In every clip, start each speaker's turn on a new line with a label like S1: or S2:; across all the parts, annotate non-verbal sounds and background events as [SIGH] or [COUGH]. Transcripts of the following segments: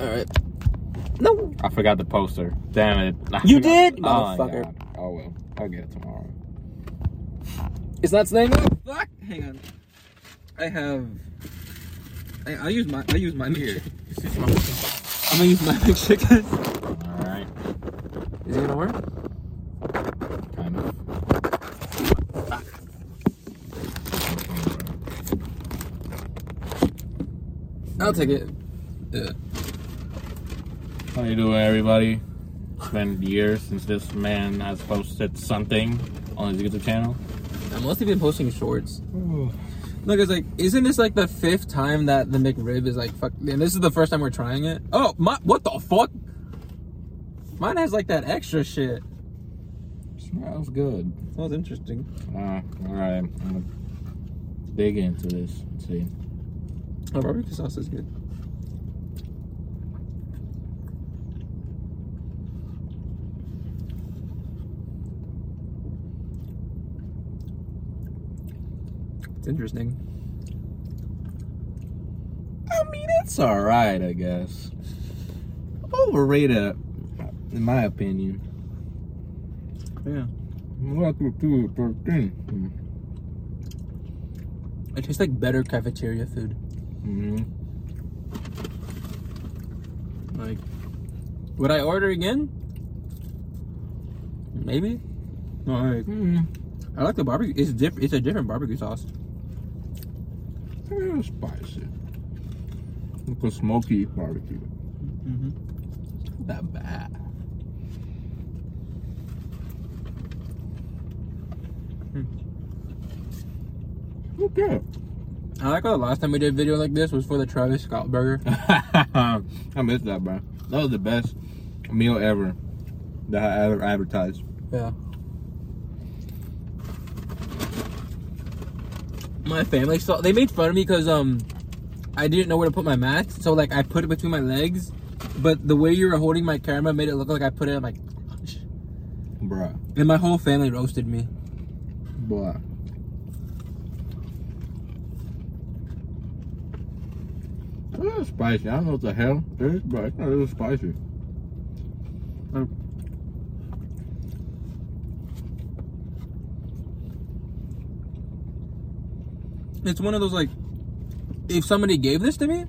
S1: All right. No.
S2: I forgot the poster. Damn it. I
S1: You
S2: forgot-
S1: did?
S2: Oh, my
S1: Motherfucker.
S2: God. Oh, well. I'll get it tomorrow.
S1: It's not staying up.
S3: Fuck. Hang on. I have. I, I'll use my. I use my here. I'm gonna use my picture, guys.
S2: Alright.
S1: Is it gonna work?
S2: Kind of.
S1: I'll take it. Uh,
S2: How you doing, everybody? It's been years since this man has posted something on his YouTube channel.
S1: I must have been posting shorts.
S2: Ooh.
S1: Look, it's like, isn't this like the fifth time that the McRib is like, fuck, and this is the first time we're trying it? Oh, my, what the fuck? Mine has like that extra shit.
S2: Smells good.
S1: That was interesting.
S2: Uh, Alright. I'm gonna dig into this and see.
S1: Oh, barbecue sauce is good. It's interesting.
S2: I mean, it's alright, I guess. Overrated, in my opinion.
S1: Yeah.
S2: Welcome to 13.
S1: It tastes like better cafeteria food.
S2: hmm
S1: Like, would I order again? Maybe. No, like, I like the barbecue. It's diff- It's a different barbecue sauce.
S2: Kind of spicy. Like a smoky barbecue.
S1: Mm-hmm.
S2: Not that bad. [LAUGHS] Okay.
S1: I like how the last time we did a video like this was for the Travis Scott burger.
S2: I missed that, bro. That was the best meal ever that I ever advertised.
S1: Yeah. My family saw. They made fun of me because um, I didn't know where to put my mat, so like I put it between my legs, but the way you were holding my camera made it look like I put it in my.
S2: Bruh.
S1: And my whole family roasted me.
S2: Bruh. It's a little spicy. I don't know what the hell it is, but it's a little spicy.
S1: It's one of those like, if somebody gave this to me,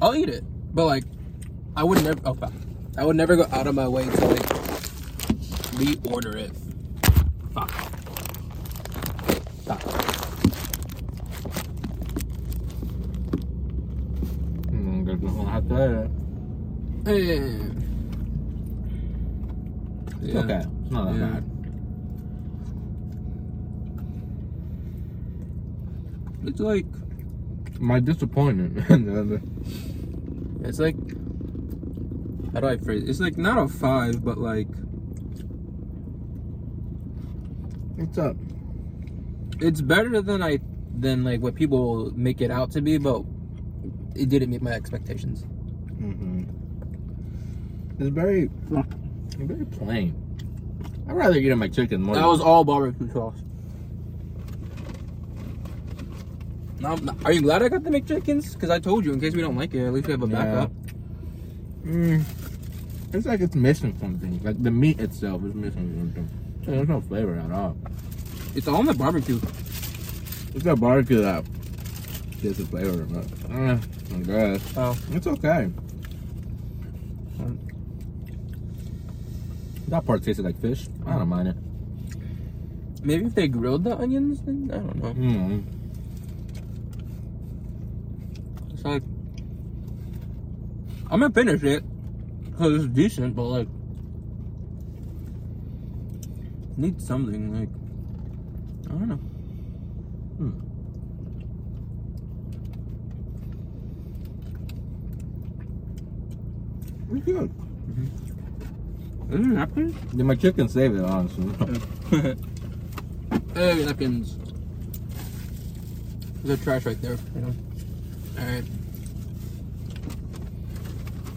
S1: I'll eat it. But like, I would never. Oh, fuck. I would never go out of my way to like reorder it. Fuck. Fuck.
S2: Mm, guess I'm gonna have to add it.
S1: Eh.
S2: It's
S1: Yeah.
S2: okay. It's not that
S1: Yeah.
S2: bad.
S1: It's like
S2: My disappointment. [LAUGHS]
S1: it's like how do I phrase? It? It's like not a five, but like
S2: What's up?
S1: it's better than I than like what people make it out to be, but it didn't meet my expectations.
S2: Mm-hmm. It's very, very plain. I'd rather eat my chicken more.
S1: That was all barbecue sauce. Now, are you glad I got the McChickens? Because I told you, in case we don't like it, at least we have a
S2: Yeah.
S1: backup.
S2: Mm. It's like it's missing something. Like the meat itself is missing something. There's no flavor at all.
S1: It's all in the barbecue.
S2: It's the barbecue that gives the flavor. But, uh, I guess
S1: Oh,
S2: it's okay. That part tasted like fish. I don't mind it.
S1: maybe if they grilled the onions, then I don't know.
S2: Mm.
S1: It's like I'm gonna finish it because it's decent, but like need something like I don't know.
S2: It's good.
S1: Is it napkins?
S2: Yeah, my chicken saved it, honestly.
S1: Hey, napkins. There's a trash right there. You know. All right.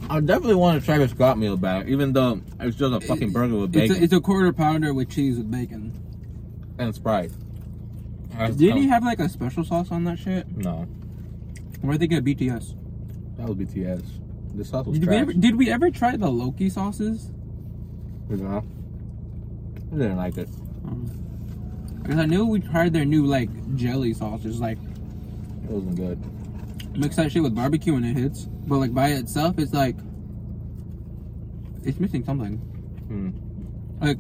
S2: I definitely want a Travis Scott meal back, even though it's just a fucking burger with
S1: It's
S2: bacon
S1: a, it's a quarter pounder with cheese with bacon.
S2: and Sprite. That's-
S1: Did
S2: that
S1: he
S2: was-
S1: have like a special sauce on that shit?
S2: No,
S1: Where'd they get BTS?
S2: that was BTS. The sauce was
S1: Did we
S2: trash.
S1: ever did we ever try the Loki sauces?
S2: You know? I didn't like it.
S1: Because I knew we tried their new like jelly sauces, like
S2: It wasn't good.
S1: mix that shit with barbecue and it hits. But like by itself, it's like it's missing something.
S2: Hmm.
S1: Like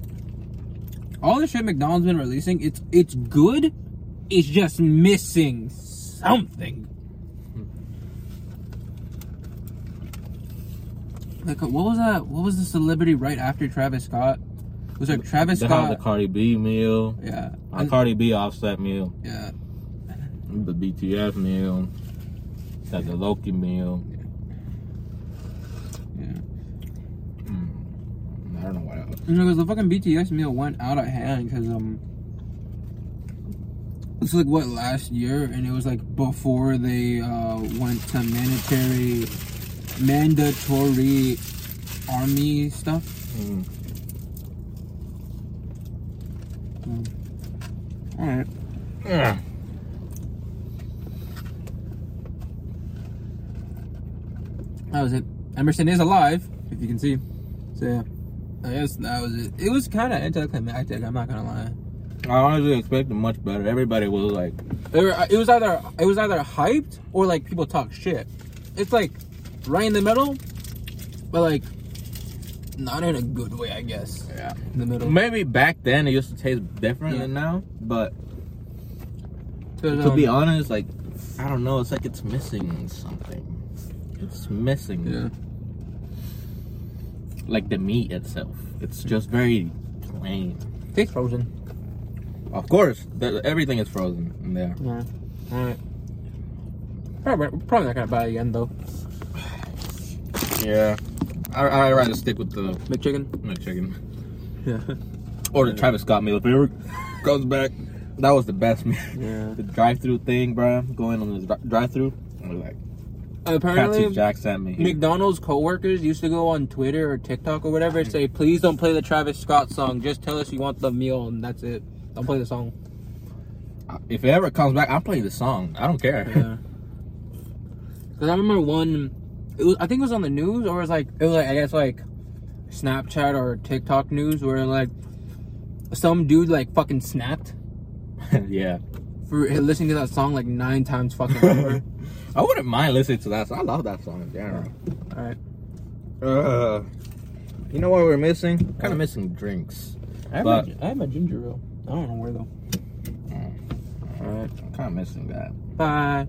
S1: all the shit McDonald's been releasing, it's it's good. It's just missing something.
S2: Hmm.
S1: Like what was that? What was the celebrity right after Travis Scott? It was like Travis
S2: They had the
S1: Scott.
S2: Cardi B meal,
S1: yeah.
S2: a
S1: and-
S2: Cardi B offset meal,
S1: yeah.
S2: the BTS meal, had the Loki meal.
S1: Yeah.
S2: Mm. I don't know what else.
S1: Because the fucking BTS meal went out of hand because um, it's like what last year, and it was like before they uh went to mandatory, mandatory army stuff.
S2: Hmm.
S1: All right.
S2: Ugh.
S1: That was it. Emerson is alive, if you can see. So yeah, I guess that was it. It was kind of anticlimactic. I'm not gonna lie.
S2: I honestly expected much better. Everybody was like,
S1: They were, it was either it was either hyped or like people talk shit. It's like right in the middle, but like not in a good way, I guess.
S2: yeah.
S1: In the middle.
S2: Maybe back then it used to taste different
S1: Yeah.
S2: than now, but
S1: But,
S2: to
S1: um,
S2: be honest, like I don't know, it's like it's missing something. It's missing.
S1: yeah,
S2: Like the meat itself, it's just very plain.
S1: tastes frozen.
S2: Of course, the, everything is frozen in there.
S1: Yeah. All right. Probably, probably not gonna buy it again though.
S2: Yeah, I I rather stick with the
S1: McChicken.
S2: McChicken
S1: Yeah.
S2: or the Travis Scott meal if it ever comes back. That was the best meal.
S1: [LAUGHS] [LAUGHS] Yeah.
S2: The drive-through thing, bruh. Going on the drive-through, like Patsy
S1: Apparently,
S2: Jack sent me. here.
S1: McDonald's coworkers used to go on Twitter or TikTok or whatever and say, "Please don't play the Travis Scott song. Just tell us you want the meal, and that's it. Don't play the song."
S2: If it ever comes back, I'll play the song. I don't care.
S1: Yeah. Cause I remember one, it was I think it was on the news or it was like it was like I guess like Snapchat or TikTok news where like some dude like fucking snapped
S2: [LAUGHS] yeah.
S1: for listening to that song like nine times fucking over.
S2: [LAUGHS] I wouldn't mind listening to that song. I love that song in general.
S1: All right,
S2: Uh, you know what we're missing? Kind of missing drinks.
S1: [LAUGHS] I have,
S2: a
S1: a, I have a ginger ale. I don't know where though. All right,
S2: I'm kind of missing that.
S1: bye.